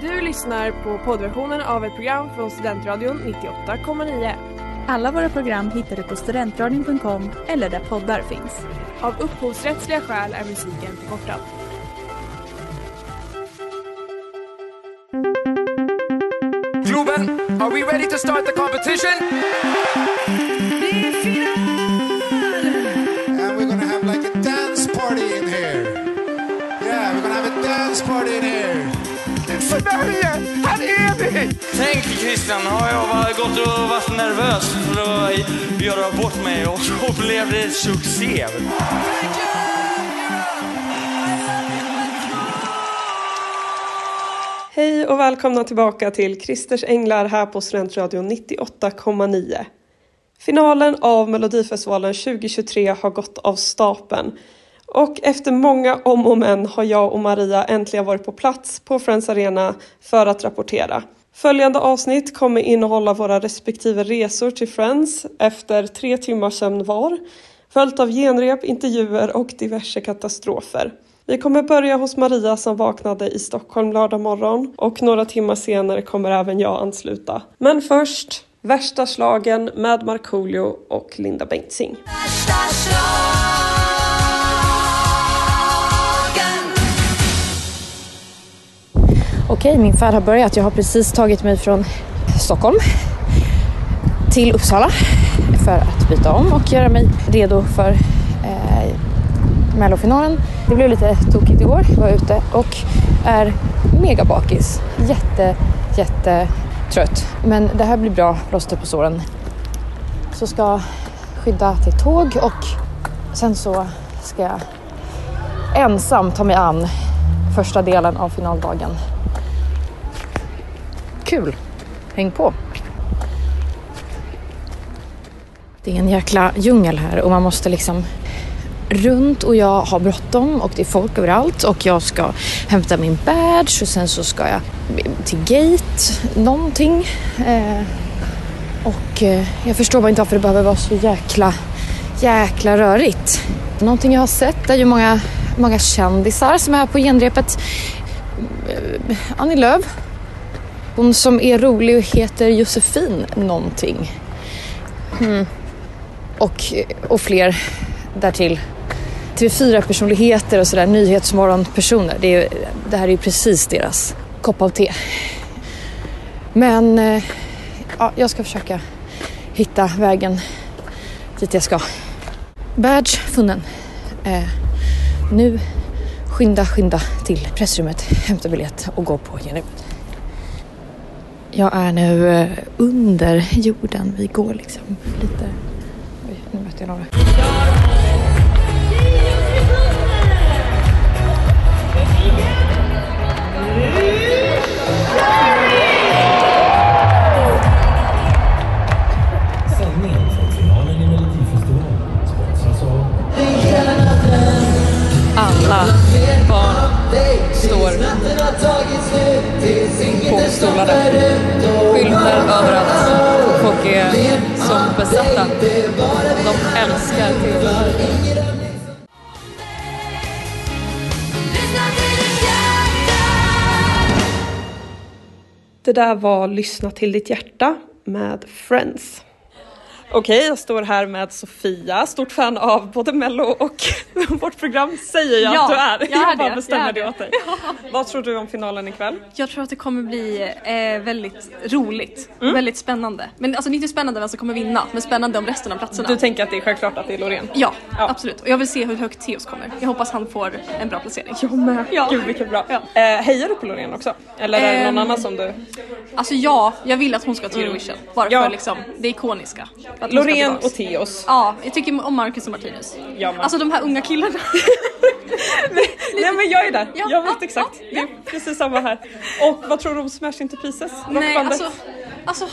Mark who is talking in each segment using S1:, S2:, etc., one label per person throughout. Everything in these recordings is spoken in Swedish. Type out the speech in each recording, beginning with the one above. S1: Du lyssnar på poddversionen av ett program från Studentradion 98,9.
S2: Alla våra program hittar du på studentradion.com eller där poddar finns.
S1: Av upphovsrättsliga skäl är musiken förkortad.
S3: Globen, are we ready to start the competition?
S4: And we're gonna have like a dance party in here. Yeah, we're gonna have a dance party in here.
S3: Sverige, här är vi!
S5: Tänk Christian, har jag varit- gått och varit nervös för att göra bort mig och så blev det succé.
S6: Hej och välkomna tillbaka till Christers Änglar här på Studentradion 98,9. Finalen av Melodifestivalen 2023 har gått av stapeln. Och efter många om och men har jag och Maria äntligen varit på plats på Friends Arena för att rapportera. Följande avsnitt kommer innehålla våra respektive resor till Friends efter tre timmars sömn var, följt av genrep, intervjuer och diverse katastrofer. Vi kommer börja hos Maria som vaknade i Stockholm lördag morgon och några timmar senare kommer även jag ansluta. Men först, värsta slagen med Markoolio och Linda Bengtzing.
S7: Okej, min färd har börjat. Jag har precis tagit mig från Stockholm till Uppsala för att byta om och göra mig redo för eh, Mellofinalen. Det blev lite tokigt igår. Jag var ute och är mega bakis. Jätte, jätte trött. Men det här blir bra plåster på såren. Så ska jag skydda till tåg och sen så ska jag ensam ta mig an första delen av finaldagen kul. Häng på. Det är en jäkla djungel här och man måste liksom runt och jag har bråttom och det är folk överallt och jag ska hämta min badge och sen så ska jag till gate någonting. Eh, och eh, jag förstår bara inte varför det behöver vara så jäkla, jäkla rörigt. Någonting jag har sett är ju många, många kändisar som är här på genrepet. Eh, Annie Lööf hon som är rolig och heter Josefin någonting. Hmm. Och, och fler därtill. TV4-personligheter och sådär, nyhetsmorgonpersoner. Det, är, ju- det här är ju precis deras kopp av te. Men eh, ja, jag ska försöka hitta vägen dit jag ska. Badge funnen. Eh, nu skynda, skynda till pressrummet, hämta biljett och gå på genrep. Jag är nu eh, under jorden. Vi går liksom lite... Oj, nu mötte jag några.
S8: Sändningen från finalen i Melodifestivalen sponsras av
S7: Alla barn står på stolarna. Skyltar överallt. Folk är som besatta. De älskar TV.
S6: Det där var Lyssna till ditt hjärta med Friends. Okej, jag står här med Sofia, stort fan av både Mello och vårt program säger jag
S9: Ja,
S6: att du är.
S9: jag är
S6: bara
S9: det,
S6: bestämmer
S9: jag är
S6: det åt dig. Vad tror du om finalen ikväll?
S9: Jag tror att det kommer bli eh, väldigt roligt,
S7: Mm.
S9: väldigt spännande. Men alltså det är inte spännande vem som kommer vinna, men spännande om resten av platserna.
S6: Du tänker att det är självklart att det är Loreen?
S9: ja,
S6: Ja.
S9: absolut. Och jag vill se hur högt Theoz kommer. Jag hoppas han får en bra placering.
S6: Jag med.
S9: Ja.
S6: Gud vilket bra. Eh, hejar du på Loreen också? Eller är det någon
S9: Ehm,
S6: annan som du?
S9: Alltså ja, jag vill att hon ska
S7: Mm.
S9: till Eurovision. Bara
S6: Ja.
S9: för liksom, det ikoniska. För att hon ska
S6: Loreen
S9: tillbaks.
S6: och Theoz.
S9: Ja, jag tycker om Marcus och Martinus.
S6: Jag med.
S9: Alltså de här unga killarna.
S6: Nej men jag är där,
S9: Ja,
S6: jag vet
S9: ja,
S6: exakt.
S9: ja,
S6: Det är precis samma här. Och vad tror du om Smash Into Pieces?
S9: Nej,
S6: Rockbandet?
S9: alltså, alltså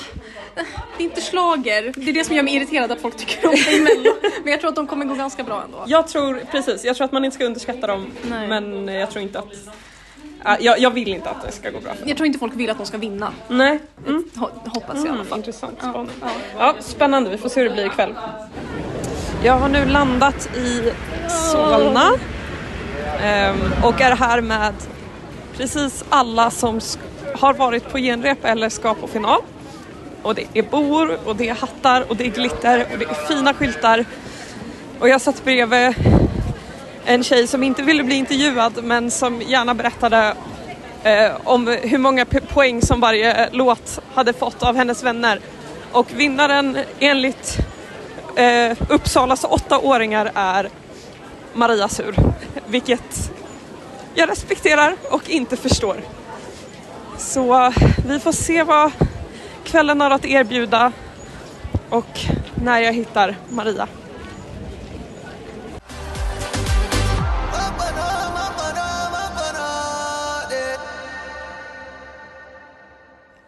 S9: det är inte slager. Det är det som gör mig irriterad att folk tycker om mig emellan. Men jag tror att de kommer gå ganska bra ändå.
S6: Jag tror, precis, jag tror att man inte ska underskatta dem
S9: Nej.
S6: men jag tror inte att... Ah, jag, jag vill inte att det ska gå bra.
S9: Jag tror inte folk vill att de ska vinna.
S6: Nej. Mm.
S9: Ho- Hoppas jag i alla fall.
S6: Intressant spaning. Ja. spännande, vi får se hur det blir ikväll. Jag har nu landat i Solna ehm, och är här med precis alla som sk- har varit på genrep eller ska på final. Och det är boor och det är hattar och det är glitter och det är fina skyltar. Och jag satt bredvid en tjej som inte ville bli intervjuad men som gärna berättade eh, om hur många p- poäng som varje låt hade fått av hennes vänner. Och vinnaren enligt eh, Uppsalas åttaåringar är Maria Sur. Vilket jag respekterar och inte förstår. Så eh, vi får se vad kvällen har att erbjuda och när jag hittar Maria.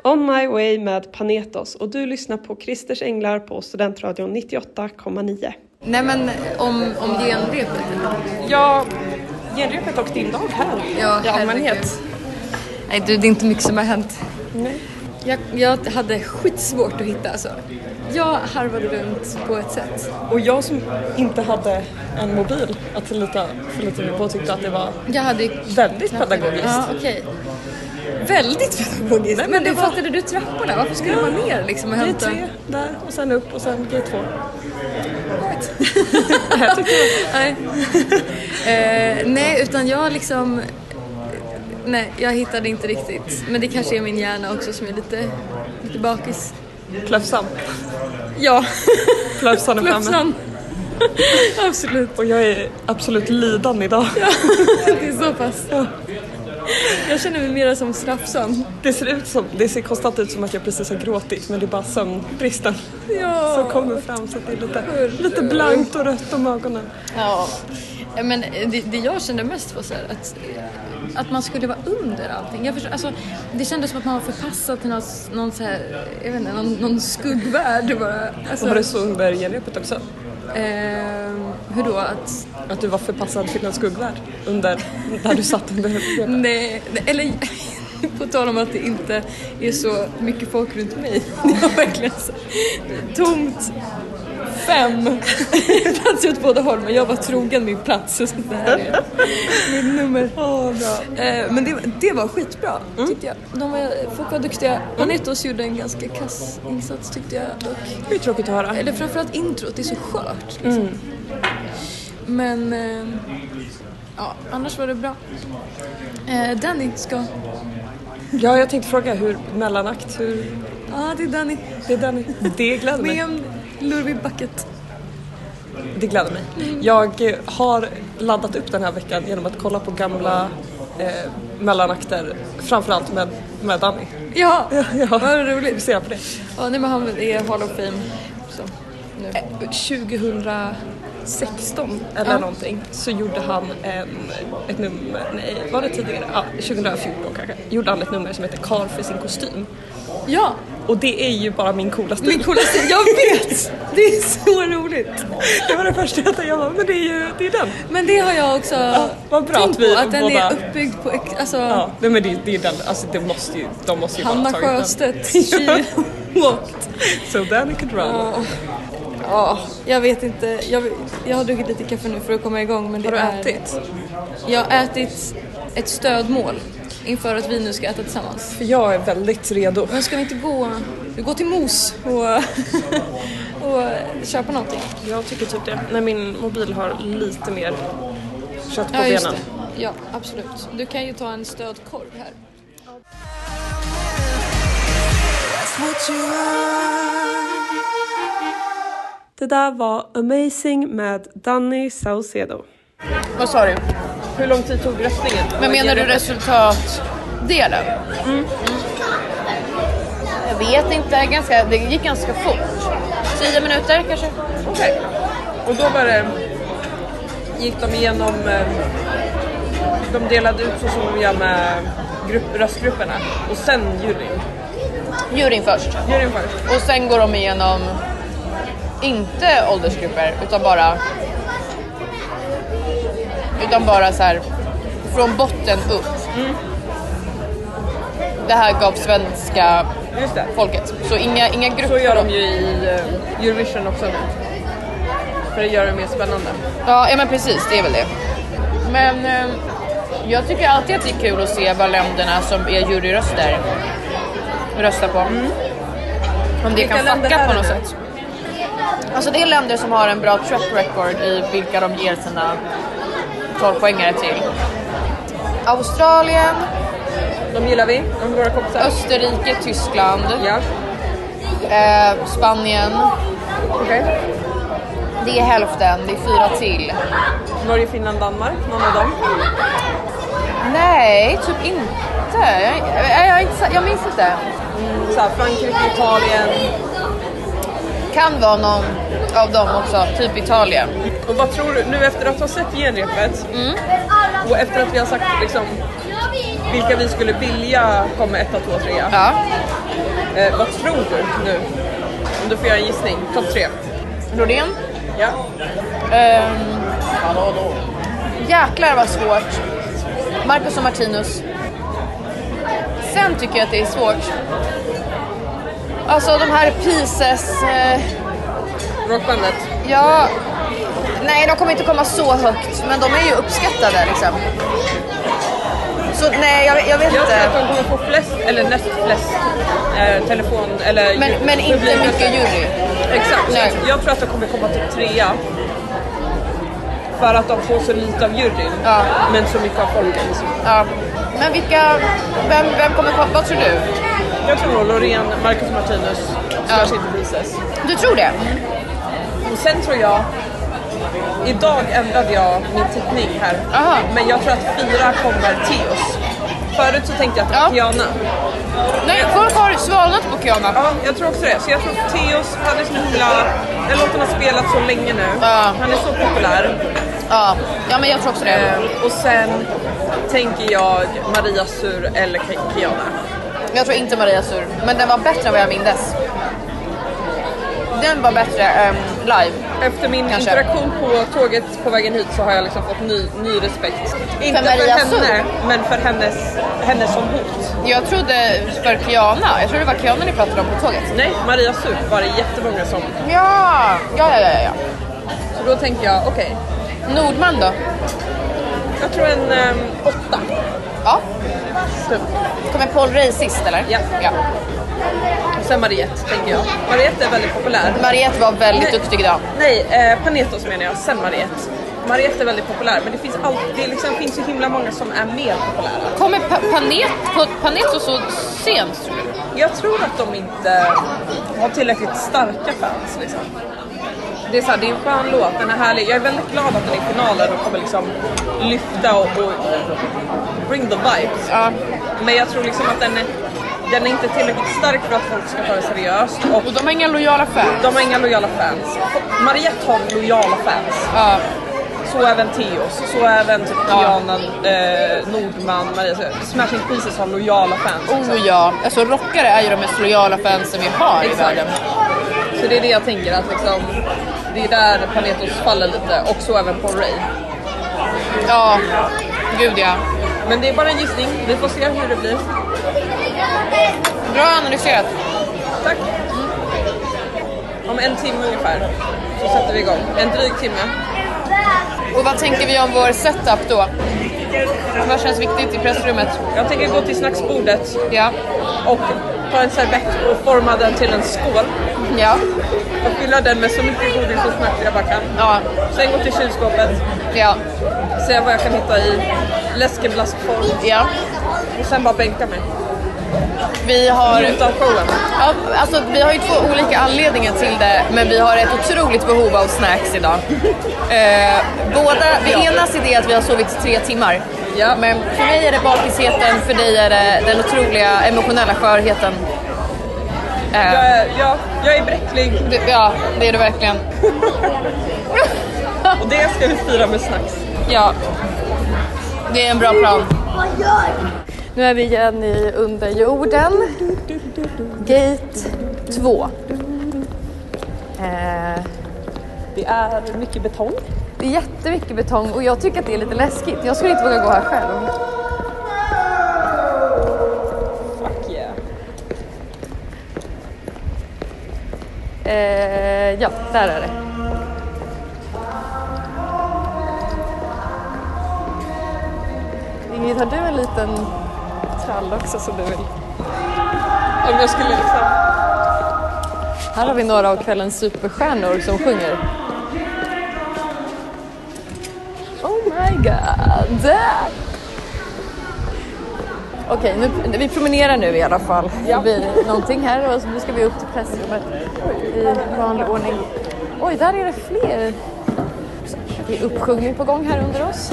S6: On My Way med Panetos och du lyssnar på Christers Änglar på Studentradion 98,9.
S2: Nej men om, om genrepet.
S6: Ja, genrepet och din dag här
S2: Ja,
S6: i allmänhet.
S2: Nej du, det är inte mycket som har hänt.
S6: Nej.
S2: Jag, jag hade skitsvårt att hitta alltså. Jag harvade runt på ett sätt.
S6: Och jag som inte hade en mobil att lita, förlita mig på tyckte att det var
S2: Jag hade ju
S6: väldigt pedagogiskt.
S2: Ja, okej. Väldigt pedagogiskt. men du fattade du trapporna? Varför skulle man ner liksom och
S6: Det är
S2: hämta?
S6: tre där och sen upp och sen gate två.
S2: Nej. Eh, nej, utan jag liksom... Nej, jag hittade inte riktigt. Men det kanske är min hjärna också som är lite, lite bakis.
S6: Klöfsan.
S2: Ja,
S6: Klöfsan är framme.
S2: klöpsan. Absolut,
S6: Och jag är absolut lidan idag.
S2: det är så pass. Jag känner mig mera som Strafsan.
S6: Det ser ut som, det ser konstant ut som att jag precis har gråtit men det är bara sömnbristen
S2: Ja.
S6: som kommer fram så att det är lite, lite blankt och rött om ögonen.
S2: Ja, men det, det jag kände mest var så här att, att man skulle vara under allting. Jag förstår, alltså, det kändes som att man var förpassad till någon, någon, så här, jag vet inte, någon, någon skuggvärld bara. Alltså,
S6: Var det så under genrepet också?
S2: ehm, hur då? Att,
S6: Att du var förpassad till en skuggvärld under, där du satt under genrepet?
S2: nej, nej, eller på tal om att det inte är så mycket folk runt mig. Det var verkligen så tomt. Fem platser åt båda håll men jag var trogen min plats. Så det här är mitt nummer.
S6: bra.
S2: Eh, Men det, det var skitbra tyckte jag. De var, folk var duktiga. Panetos gjorde en ganska kass insats tyckte jag dock.
S6: Det är tråkigt att höra.
S2: Eller framförallt introt, det är så skört. Liksom. Men eh, ja, annars var det bra. Eh, Danny ska...
S6: Ja, jag tänkte fråga hur mellanakt, hur
S2: Ja, ah, det är Danny.
S6: det är den, det gläder mig.
S2: Med en lurvig bucket.
S6: Det gläder mig. Jag eh, har laddat upp den här veckan genom att kolla på gamla eh, mellanakter, framförallt med, med Danny.
S2: Ja, vad
S6: Vi
S2: roligt.
S6: ser på det.
S2: Ja, nej, men han är Hall of Fame. Så, nu.
S6: 2016 eller
S2: Ja.
S6: någonting så gjorde han en, ett nummer, nej var det tidigare? Ja, 2014 kanske. Gjorde han ett nummer som heter Karl för sin kostym.
S2: Ja,
S6: Och det är ju bara min coola stil.
S2: min coolaste. Jag vet! Det är så roligt.
S6: Det var det första jag tänkte, jag bara, men det är ju det är den.
S2: Men det har jag också
S6: vad bra
S2: tänkt
S6: att vi
S2: på, att den
S6: båda-
S2: är uppbyggd på... ex- Alltså,
S6: Ja, nej men det, det är den, alltså det måste ju, de måste ju
S2: Hanna
S6: bara ha tagit den.
S2: Sjöstedt, she walked.
S6: So Danny could run.
S2: Ja. Ja, jag vet inte. Jag, jag har druckit lite kaffe nu för att komma igång. Men det
S6: Har du
S2: är,
S6: ätit?
S2: Jag har ätit ett stödmål inför att vi nu ska äta tillsammans.
S6: För jag är väldigt redo.
S2: Men ska vi inte gå, vi går till Mos och, och köpa någonting?
S6: Jag tycker typ det. När min mobil har lite mer kött på
S2: Ja, just
S6: benen.
S2: det. Ja, absolut. Du kan ju ta en stödkorv här.
S6: Det där var Amazing med Danny Saucedo.
S7: Vad sa du?
S6: Hur lång tid tog röstningen?
S7: Men menar du resultatdelen? Mm. Jag vet inte, ganska, det gick ganska fort. Tio minuter kanske?
S6: Okej. Och då var det... Gick de igenom... eh, De delade ut så som de gör med grupp, röstgrupperna och sen juryn.
S7: Juryn först.
S6: Juryn först.
S7: Och sen går de igenom, inte åldersgrupper, utan bara... Utan bara så här, från botten upp. Det här gav svenska
S6: Just det.
S7: folket. Så inga, inga grupper.
S6: Så gör de ju i eh, Eurovision också nu. För att göra det mer spännande.
S7: Ja, ja men precis, det är väl det. Men eh, Jag tycker alltid att det är kul att se vad länderna som är juryröster röstar
S6: Mm.
S7: på. Om det kan fucka på något sätt. Alltså det är länder som har en bra track record i vilka de ger sina 12-poängare till. Australien,
S6: De gillar vi, de är våra kompisar.
S7: Österrike, Tyskland,
S6: Ja.
S7: eh, Spanien. Det är hälften, det är fyra till.
S6: Norge, Finland, Danmark, någon av dem.
S7: Nej, typ inte. Jag, jag, jag, är inte sa- jag minns inte.
S6: Så här, Frankrike, Italien.
S7: Kan vara någon av dem också, typ Italien.
S6: Och vad tror du, nu efter att ha sett genrepet och efter att vi har sagt liksom, vilka vi skulle vilja komma etta, två, trea.
S7: Ja.
S6: Eh, vad tror du nu? Om du får göra en gissning, topp tre.
S7: Rodén.
S6: Ja.
S7: Ehm, jäklar vad svårt. Marcus och Martinus. Sen tycker jag att det är svårt. Alltså de här Pieces. Eh,
S6: Rockbandet.
S7: ja. Nej, de kommer inte komma så högt, men de är ju uppskattade liksom. Så nej, jag, jag vet
S6: Jag tror att
S7: inte.
S6: de kommer få flest, eller näst flest, eh, telefon eller
S7: Men, men inte
S6: publikröster.
S7: mycket jury.
S6: Exakt,
S7: Nej.
S6: Så jag tror att de kommer komma till trea. För att de får så lite av juryn,
S7: Ja.
S6: men så mycket av folket.
S7: Ja. Men vilka, vem, vem kommer komma, vad tror du?
S6: Jag tror Loreen, Marcus Martinus, Slash Into Pieces.
S7: Du tror det?
S6: Och sen tror jag, idag ändrade jag min tippning här.
S7: Aha.
S6: Men jag tror att fyra kommer Teos. Förut så tänkte jag att det var
S7: Ja.
S6: Tiana.
S7: Nej, folk har svalnat på Kiana.
S6: Ja, jag tror också det. Så jag tror Teos, han är så himla... Den låten har spelat så länge nu.
S7: Ja.
S6: Han är så populär.
S7: Ja, ja men jag tror också det.
S6: Eh, och sen tänker jag Maria Sur eller Ke- Kiana.
S7: Jag tror inte Maria Sur, men den var bättre än vad jag mindes. Den var bättre ehm, live.
S6: Efter min
S7: Kanske.
S6: interaktion på tåget på vägen hit så har jag liksom fått ny, ny respekt. Inte för,
S7: Maria
S6: henne,
S7: Sur?
S6: men för hennes, henne som hot.
S7: Jag trodde för Kiana, jag trodde det var Kiana ni pratade om på tåget.
S6: Nej, Maria Sur var det jättemånga som.
S7: Ja, ja, ja, ja. ja.
S6: Så då tänker jag, okej,
S7: Nordman då?
S6: jag tror en ehm, åtta.
S7: Ja.
S6: Typ.
S7: Kommer Paul Rey sist eller?
S6: Ja.
S7: ja.
S6: Och sen Mariette, tänker jag. Mariette är väldigt populär.
S7: Mariette var väldigt
S6: Nej.
S7: duktig idag.
S6: Nej, eh, Panetos menar jag, sen Mariette. Mariette är väldigt populär, men det finns, all, det är liksom, finns så himla många som är mer populära.
S7: Kommer pa- Panet, på- Paneto så sent tror du?
S6: Jag tror att de inte har tillräckligt starka fans. Liksom. Det är, så här, det är en skön låt, den är härlig. Jag är väldigt glad att den är i finalen och kommer liksom lyfta och, och bring the vibes.
S7: Ja.
S6: Men jag tror liksom att den är, den är inte tillräckligt stark för att folk ska ta det seriöst. Och
S7: Och de har inga lojala fans.
S6: de har inga lojala fans. Mariette har lojala fans.
S7: Ja.
S6: Så även Teos, så även typ Diana eh, Nordman, Maria. Smashing Pieces har lojala fans.
S7: Oh ja, alltså rockare är ju de mest lojala fansen vi har i
S6: Exakt.
S7: världen.
S6: Så det är det jag tänker att liksom, det är där Panetos faller lite och så även på Ray.
S7: Ja, gud ja.
S6: Men det är bara en gissning, vi får se hur det blir.
S7: Bra analyserat.
S6: Tack! Mm. Om en timme ungefär så sätter vi igång. En dryg timme.
S7: Och vad tänker vi om vår setup då? Vad känns viktigt i pressrummet?
S6: Jag tänker gå till snacksbordet
S7: Ja.
S6: och ta en servett och forma den till en skål
S7: Ja.
S6: och fylla den med så mycket godis och snack jag bara kan.
S7: Ja.
S6: Sen gå till kylskåpet,
S7: Ja.
S6: se vad jag kan hitta i läskeblaskform
S7: Ja.
S6: och sen bara bänka mig.
S7: Vi har,
S6: Njuta av showen.
S7: ja, alltså, vi har ju två olika anledningar till det, men vi har ett otroligt behov av snacks idag. Eh, båda, vi enas i det att vi har sovit tre timmar.
S6: Ja.
S7: Men för mig är det bakisheten, för dig är det den otroliga emotionella skörheten. Eh,
S6: Jag är, jag, jag är bräcklig
S7: du, ja, det är du verkligen.
S6: och det ska vi fira med snacks.
S7: Ja. Det är en bra plan.
S10: Nu är vi igen i under jorden. Gate 2. Eh,
S6: Det är mycket betong.
S10: det är jättemycket betong och jag tycker att det är lite läskigt. Jag skulle inte våga gå här själv.
S6: Fuck yeah.
S10: Eh, ja, där är det. Det är
S11: Birgit, har du en liten trall också som du vill?
S6: Om jag skulle liksom...
S11: Här har vi några av kvällens superstjärnor som sjunger. Oh my god! Okej, nu, vi promenerar nu i alla fall förbi någonting här och nu ska vi upp till pressrummet i vanlig ordning. Oj, där är det fler. Det är uppsjungning på gång här under oss.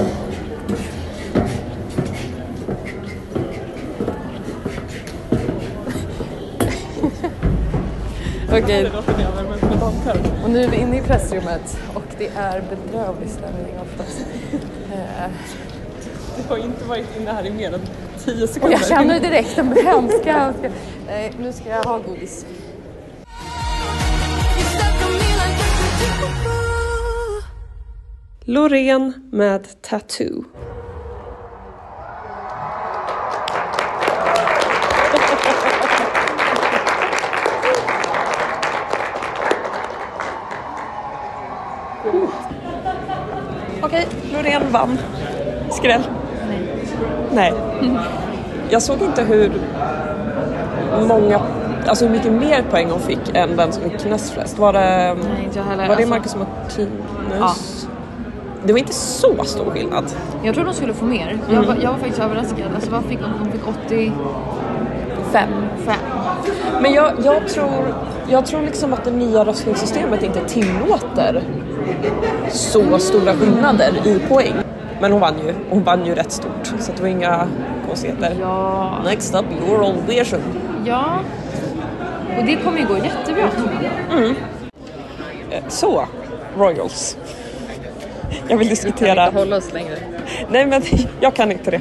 S11: Okej. Och nu är vi inne i pressrummet och det är bedrövlig stämning oftast. Eh,
S6: Du har inte varit inne här i mer än 10
S11: och
S6: sekunder.
S11: jag känner direkt den hemska, hemska... Nej, nu ska jag ha godis.
S6: Loreen med Tattoo. Okej, Loreen vann. Skräll. Nej. Jag såg inte hur många, alltså hur mycket mer poäng hon fick än den som fick näst flest. Var det,
S2: Nej, inte jag heller.
S6: var det
S2: Alltså-
S6: Marcus Martinus? Det var inte så stor skillnad.
S2: Jag trodde de skulle få mer. Jag,
S6: Mm.
S2: var, jag var faktiskt överraskad. Alltså vad fick hon? Hon fick 85.
S6: Men jag, jag, tror, jag tror liksom att det nya röstningssystemet inte tillåter så stora skillnader i poäng. Men hon vann ju, hon vann ju rätt stort så det var inga konstigheter.
S2: Ja.
S6: Next up, Laurel Learson.
S2: Ja. Och det kommer ju gå jättebra tror jag.
S6: Mm. Eh, Så, Royals. Jag vill diskutera...
S7: inte hålla oss längre.
S6: Nej men jag kan inte det.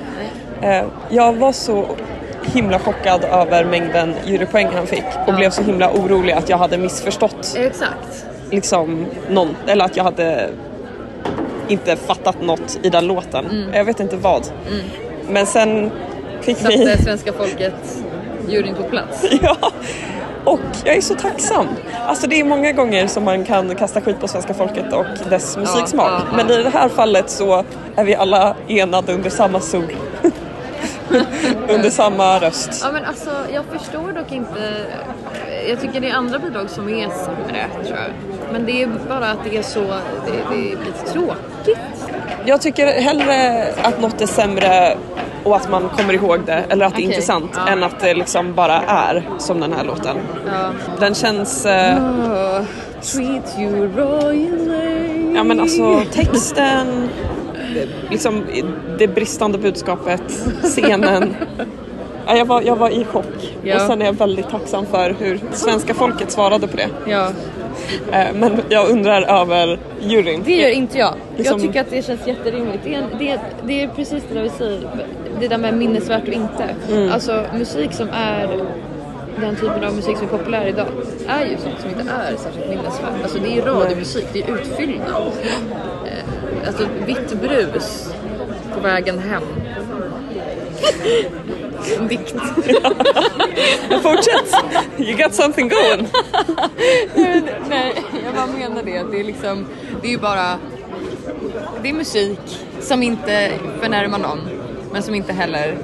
S6: Eh, Jag var så himla chockad över mängden jurypoäng han fick och blev så himla orolig att jag hade missförstått
S7: Exakt.
S6: liksom någon, eller att jag hade inte fattat något i den låten.
S7: Mm.
S6: Jag vet inte vad.
S7: Mm.
S6: Men sen fick vi...
S7: Satte svenska folket juryn på plats.
S6: Ja, och jag är så tacksam. Alltså det är många gånger som man kan kasta skit på svenska folket och dess musiksmak.
S7: ja, ja.
S6: Men i det här fallet så är vi alla enade under samma sol. under samma röst.
S7: Ja men alltså jag förstår dock inte. Jag tycker det är andra bidrag som är sämre tror jag. Men det är bara att det är så, det, det är lite tråkigt.
S6: Jag tycker hellre att något är sämre och att man kommer ihåg det eller att det är
S7: Okej,
S6: intressant
S7: ja.
S6: än att det liksom bara är som den här låten.
S7: Ja. Mm.
S6: Den känns... Eh,
S7: Treat you royally.
S6: Ja men alltså texten, liksom det bristande budskapet, scenen. Ja, jag, var, jag var i chock
S7: Ja.
S6: och sen är jag väldigt tacksam för hur svenska folket svarade på det.
S7: Ja.
S6: Eh, Men jag undrar över juryn.
S7: Det gör inte jag.
S6: Liksom-
S7: Jag tycker att det känns jätterimligt. Det är, en- det, är, det är precis det där vi säger, det där med minnesvärt och inte.
S6: Mm.
S7: Alltså musik som är den typen av musik som är populär idag är ju sånt som inte är särskilt minnesvärt. Alltså det är ju radiomusik, det är ju utfyllnad. Eh, Alltså vitt brus på vägen hem. En dikt.
S6: Fortsätt! You got something going!
S7: Nej, jag bara menar det. Det är liksom, det är ju bara, det är musik som inte förnärmar någon, men som inte heller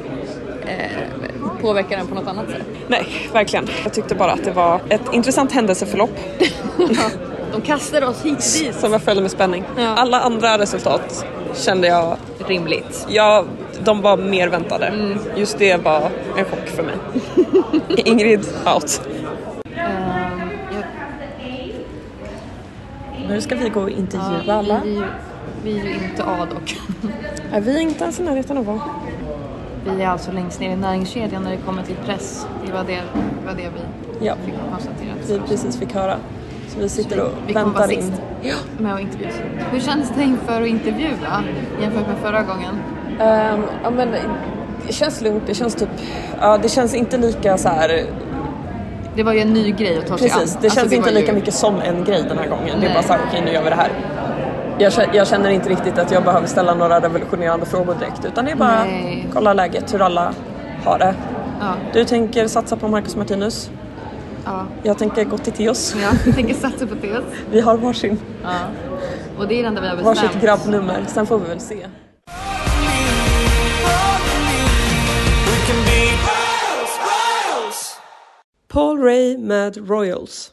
S7: eh, påverkar den på något annat sätt.
S6: Nej, verkligen. Jag tyckte bara att det var ett intressant händelseförlopp
S7: De kastar oss hit och dit.
S6: som jag följde med spänning. Alla andra resultat kände jag,
S7: Rimligt.
S6: ja, de var mer väntade.
S7: Mm.
S6: Just det var en chock för mig. Ingrid
S7: Ehm,
S6: out. Nu ska vi gå och intervjua alla.
S7: Vi, är ju, vi är ju inte A dock.
S6: Är vi inte ens i närheten av vad?
S2: Vi är alltså längst ner i näringskedjan när det kommer till press. Det var det, det, var det vi
S6: Ja,
S2: fick konstaterat.
S6: vi precis fick höra. Så vi sitter och
S2: Vi kommer
S6: väntar
S2: vara
S6: in.
S2: sist med att intervjua. Hur känns det inför att intervjua jämfört med förra gången?
S6: Ehm, ja, men det känns lugnt. Det känns typ... Ja, det känns inte lika så här...
S2: Det var ju en ny grej att ta sig an.
S6: Precis, det
S2: Alltså,
S6: känns inte
S2: var ju-
S6: lika mycket som en grej den här gången. Det är
S2: Nej.
S6: bara så här, okej nu gör vi det här. Jag känner, jag känner inte riktigt att jag behöver ställa några revolutionerande frågor direkt utan det är bara
S2: Nej.
S6: kolla läget, hur alla har det.
S2: Ja,
S6: Du tänker satsa på Marcus Martinus.
S2: ja.
S6: Jag tänker gå till Teos.
S2: ja. Jag tänker satsa på det.
S6: Vi har varsin,
S2: Ja. Och det är det enda vi har bestämt.
S6: varsitt grabbnummer, sen får vi väl se.
S3: Roll
S12: Paul Ray med Royals.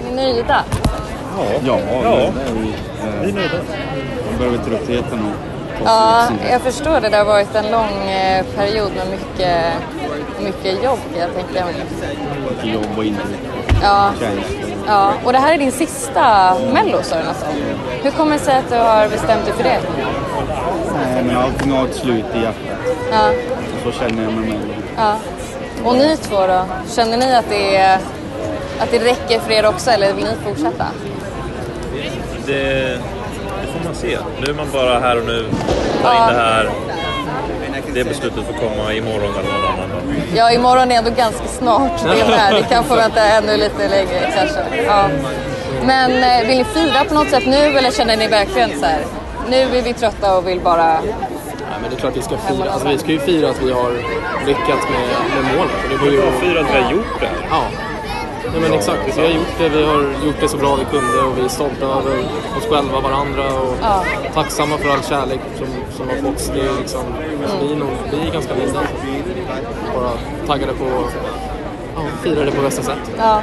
S7: Är ni nöjda?
S13: Ja, eh, ja. vi är nöjda. Nu börjar vi ta upp det och liksom
S7: Ja, jag förstår det. Det har varit en lång eh, period med mycket, mycket jobb. Jag tänkte.
S13: mycket jobb och intryck
S7: Ja.
S13: och känslor.
S7: Ja. Och det här är din sista Mello sa du nästan. Hur kommer det sig att du har bestämt dig för det?
S13: Nej, men allting har ett slut i hjärtat.
S7: Ja.
S13: Och så känner jag med mig.
S7: ja. Och ni två då? Känner ni att det, är, att det räcker för er också eller vill ni fortsätta?
S14: Det, det får man se. Nu är man bara här och nu. Ta in det här. Det beslutet får komma imorgon eller någon annan dag.
S7: Ja, imorgon är ändå ganska snart. Det med. Vi kan få vänta ännu lite längre kanske. Ja. Men eh, vill ni fira på något sätt nu eller känner ni verkligen så här? Nu är vi trötta och vill bara...
S15: Nej, men det är klart vi ska fira. Alltså, vi ska ju fira att vi har lyckats med, med målet. Och Det går ju...
S14: Fira att vi har gjort det.
S15: Ja. Nej, men exakt, vi har gjort det. Vi har gjort det så bra vi kunde och vi är stolta över oss själva, varandra och
S7: Ja.
S15: tacksamma för all kärlek som, som har fått. Det är liksom, vi, är nog, vi är ganska nöjda. Bara taggade på att ja, fira det på bästa sätt.
S7: Ja.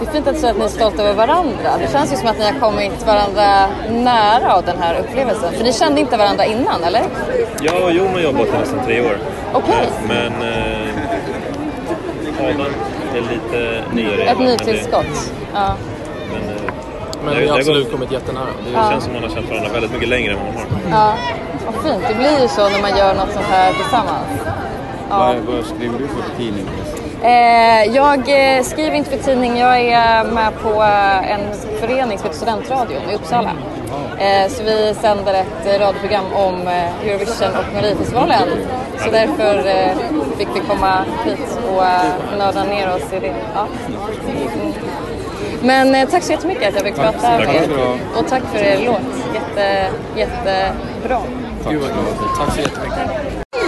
S7: Det är fint att säga att ni är stolta över varandra. Det känns ju som att ni har kommit varandra nära av den här upplevelsen. För ni kände inte varandra innan, eller?
S14: Jag och Jon har jobbat i nästan tre år.
S7: Okej.
S14: Men eh, Adam är lite nyare.
S7: Ett
S14: men det-
S7: nytillskott. Ja.
S14: Men, eh,
S15: Men
S14: det-
S15: vi
S14: det
S15: har
S14: har
S15: absolut
S14: gått-
S15: kommit jättenära. Det är-
S14: Det känns som man har känt varandra väldigt mycket längre än vad man har.
S7: ja. Vad fint. Det blir ju så när man gör något sånt här tillsammans.
S13: Vad, vad skriver du för tidning?
S7: Eh, jag eh, skriver inte för tidning. Jag är eh, med på eh, en förening som heter Studentradion i Uppsala. Eh, så vi sänder ett eh, radioprogram om eh, Eurovision och Melodifestivalen. Så därför eh, fick vi komma hit och eh, nörda ner oss i det. Ja. Mm. Men eh, tack så jättemycket att jag fick prata med
S15: Tack.
S7: er. Och tack för er låt. Jätte, jättebra.
S15: Gud vad glad. Tack så jättemycket.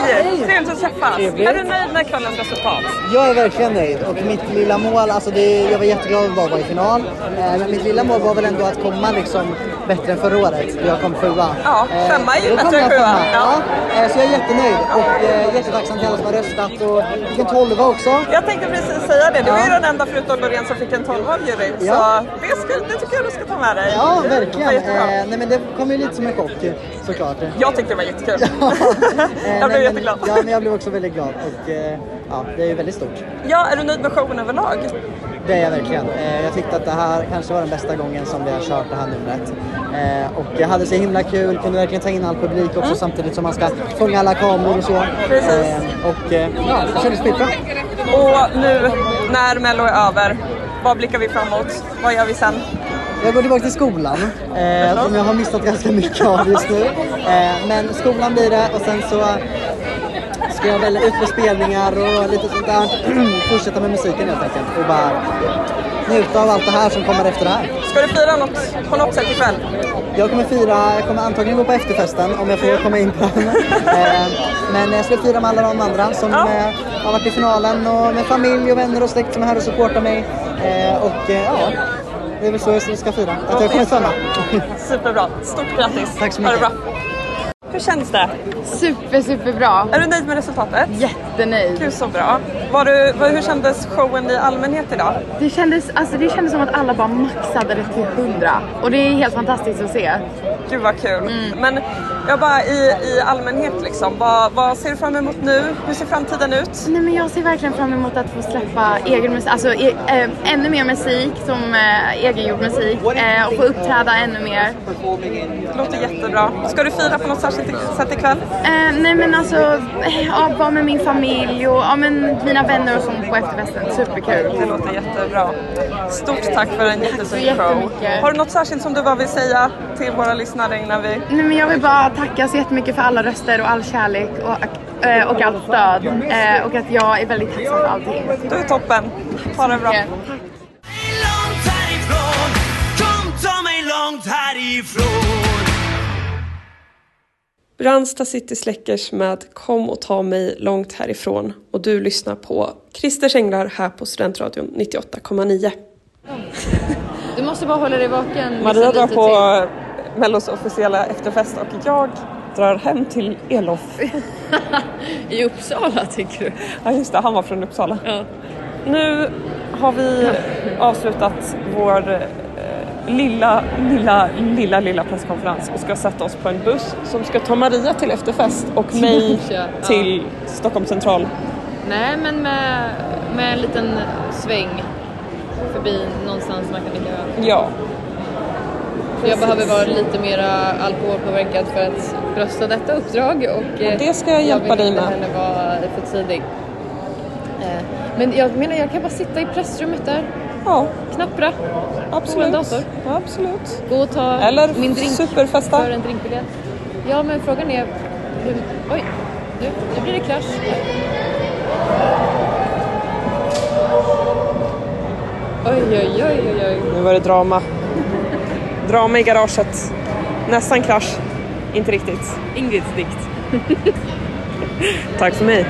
S6: Hej! Trevligt att träffas.
S9: Trevligt.
S6: Är du nöjd med kvällens resultat?
S9: Jag är verkligen nöjd och mitt lilla mål, alltså det, jag var jätteglad att bara vara i final. Eh, men mitt lilla mål var väl ändå att komma liksom bättre än förra året då jag kom sjua.
S6: Ja, femma är ju
S9: då kom
S6: bättre än
S9: jag
S6: sjua.
S9: femma, Ja. Eh, så jag är jättenöjd och eh, jättetacksam till alla som har röstat och fick en tolva också.
S6: Jag tänkte precis säga det. Du är ju
S9: Ja.
S6: den enda förutom Loreen som fick en 12 av juryn.
S9: Ja.
S6: Så det, skulle, det tycker jag du ska ta med dig.
S9: Ja,
S6: Det
S9: verkligen.
S6: var jättebra.
S9: Eh, nej, men det kom ju lite som en chock såklart.
S6: Jag tyckte det var jättekul.
S9: Eh,
S6: jag blev
S9: nej,
S6: jätteglad.
S9: Men, ja, men jag blev också väldigt glad och eh, ja, det är ju väldigt stort.
S6: Ja, är du nöjd med showen överlag?
S9: Det är jag verkligen. Eh, Jag tyckte att det här kanske var den bästa gången som vi har kört det här numret. Eh, Och jag hade så himla kul, kunde verkligen ta in all publik också samtidigt som man ska fånga alla kameror och så.
S6: Precis.
S9: Eh, Och eh, ja, det kändes skitbra.
S6: Och nu när Mello är över, vad blickar vi framåt? Vad gör vi sen?
S9: Jag går tillbaka till skolan, eh, som jag har missat ganska mycket av just nu. Eh, men skolan blir det och sen så ska jag väl ut på spelningar och lite sånt där. Fortsätta med musiken helt enkelt och bara njuta av allt det här som kommer efter det här.
S6: Ska du fira något på något sätt ikväll?
S9: Jag kommer fira, jag kommer antagligen gå på efterfesten om jag får komma in på den. Eh, Men jag ska fira med alla de andra som eh, har varit i finalen och med familj och vänner och släkt som är här och supportar mig. Eh, Och eh, ja, det är väl så jag ska fira. Att jag kommer stanna.
S6: Superbra. Stort grattis. Tack så mycket. Ha det bra. Hur känns det?
S16: Super, superbra.
S6: Är du nöjd med resultatet?
S16: Jättenöjd.
S6: Gud så bra. Var du, var, hur kändes showen i allmänhet idag?
S16: Det kändes, alltså, det kändes som att alla bara maxade det till 100 och det är helt fantastiskt att se.
S6: Gud vad kul. Men jag bara i, i allmänhet liksom, vad, vad ser du fram emot nu? Hur ser framtiden ut?
S16: Nej, men jag ser verkligen fram emot att få släppa egen musik, alltså e- eh, ännu mer musik som eh, egengjord musik eh, och få uppträda ännu mer.
S6: Det låter jättebra. Ska du fira på något särskilt sätt ikväll?
S16: Eh, nej men alltså, eh, ja, vara med min familj och ja, men mina vänner och sånt på efterfesten. Superkul.
S6: Det låter jättebra. Stort tack för en jättefin
S16: så
S6: show.
S16: jättemycket.
S6: Har du något särskilt som du bara vill säga till våra lyssnare innan vi...
S16: Nej, men jag vill bara tacka så jättemycket för alla röster och all kärlek och, eh, och allt stöd. Eh, Och att jag är väldigt tacksam för allting.
S6: Du är toppen. Ha det bra.
S5: Kom ta mig långt härifrån
S12: Brandsta City Släckers med Kom och ta mig långt härifrån och du lyssnar på Christers Änglar här på Studentradion 98,9.
S7: Du måste bara hålla dig vaken.
S12: Maria drar
S7: liksom lite
S12: på
S7: till.
S12: Mellos officiella efterfest och jag
S6: drar hem till Elof.
S7: I Uppsala tänker du?
S6: Ja just det, han var från Uppsala. Nu har vi avslutat vår eh, lilla, lilla, lilla, lilla presskonferens och ska sätta oss på en buss som ska ta Maria till efterfest och mig
S7: Ja.
S6: till Stockholm central.
S7: Nej, men med, med en liten sväng förbi någonstans man kan lika väl.
S6: Ja.
S7: Jag behöver vara lite mer alkoholpåverkad för att brösta detta uppdrag. Och, eh,
S6: Det ska jag hjälpa dig med.
S7: Jag vill inte heller vara för tidig. Eh, Men jag menar, jag kan bara sitta i pressrummet där.
S6: Ja.
S7: Knappra. På en
S6: Absolut.
S7: dator.
S6: Absolut.
S7: Gå och ta
S6: Eller
S7: min drink.
S6: superfesta.
S7: För en drinkbiljett. Ja, men frågan är... Hur... Oj, nu, nu blir det krasch. Oj, oj, oj, oj, oj.
S6: Nu var det drama. Drama i garaget. Nästan krasch. Inte riktigt. Ingrids dikt. Tack för mig.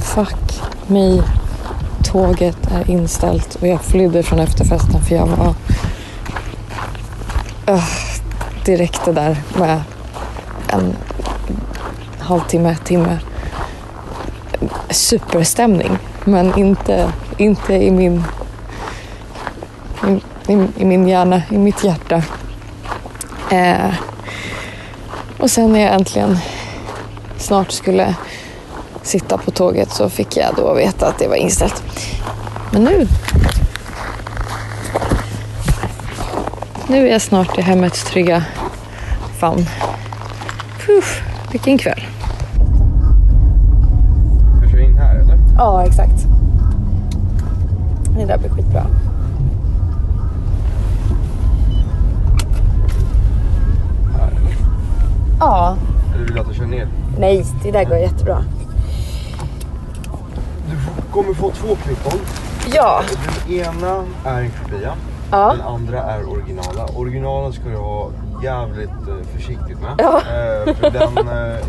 S17: Fuck me. Tåget är inställt och jag flydde från efterfesten för jag var Öh, direkt det där med en halvtimme, timme superstämning. Men inte, inte i min i, i, i min hjärna, i mitt hjärta. Eh, och sen när jag äntligen snart skulle sitta på tåget så fick jag då veta att det var inställt. Men nu... Nu är jag snart i hemmets trygga famn. Puff, vilken kväll.
S9: Du kör in här eller?
S18: Ja, exakt. Det där blir skitbra.
S9: Här eller?
S18: Ja.
S9: Eller vill du att jag kör ner?
S18: Nej, det där går jättebra.
S9: Du kommer få två klippon.
S18: Ja.
S9: Den ena är en kopia.
S18: Ja.
S9: Den andra är originala. Originalen ska du vara jävligt eh, försiktig med.
S18: Ja.
S9: Eh, för den, eh,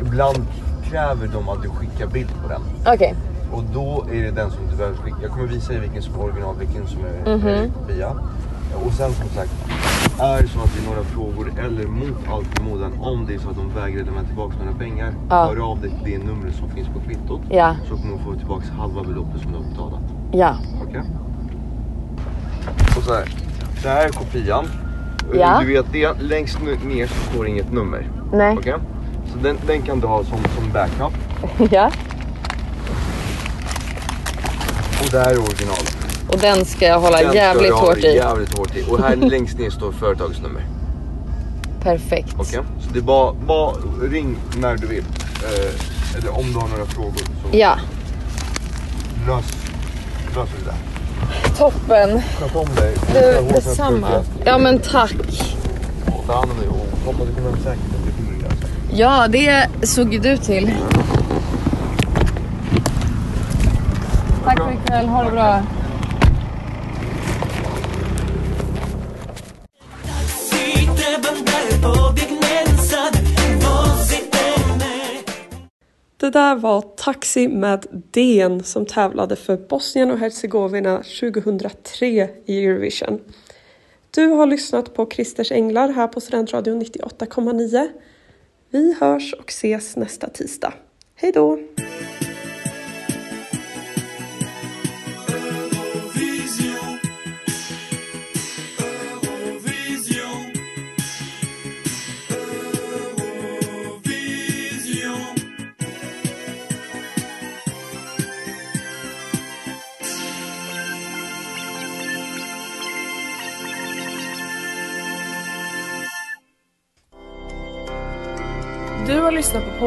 S9: ibland kräver de att du skickar bild på den.
S18: Okej.
S9: Och då är det den som du behöver skicka. Jag kommer visa dig vilken som är original, vilken som är
S18: Mhm.
S9: eh, kopia. Och sen som sagt, är det så att det är några frågor eller mot allt förmodan, om det är så att de vägrar lämna tillbaka några pengar,
S18: Ja.
S9: hör av dig till det numret som finns på kvittot.
S18: Ja.
S9: Så kommer du få tillbaka halva beloppet som du har betalat.
S18: Ja.
S9: Okej? Och så här, det här är kopian.
S18: Ja.
S9: Du vet det, längst nu- ner så står det inget nummer.
S18: Nej.
S9: Okej? Så den, den kan du ha som, som backup.
S18: Ja.
S9: Och det här är original.
S17: Och den ska jag hålla
S9: Den ska
S17: jävligt
S9: du ha
S17: hårt i.
S9: Jävligt hårt i. Och här längst ner står företagsnummer.
S17: Perfekt.
S9: Okej? Så det är bara, bara ring när du vill. Eh, eller om du har några frågor så
S17: Ja,
S9: lös, löser vi det.
S17: toppen.
S9: Sköt om dig.
S17: Du, detsamma. Ja men tack.
S9: Ta hand om dig och hoppas du kommer hem säkert. Det kommer du göra.
S17: Ja, det såg ju du till.
S7: Tack för ikväll, ha det bra.
S6: Det där var Taxi med DN som tävlade för Bosnien och Herzegovina 2003 i Eurovision. Du har lyssnat på Christers Änglar här på Studentradion 98,9. Vi hörs och ses nästa tisdag. Hej då!
S5: Eurovision. Eurovision. Eurovision.
S1: Du har lyssnat på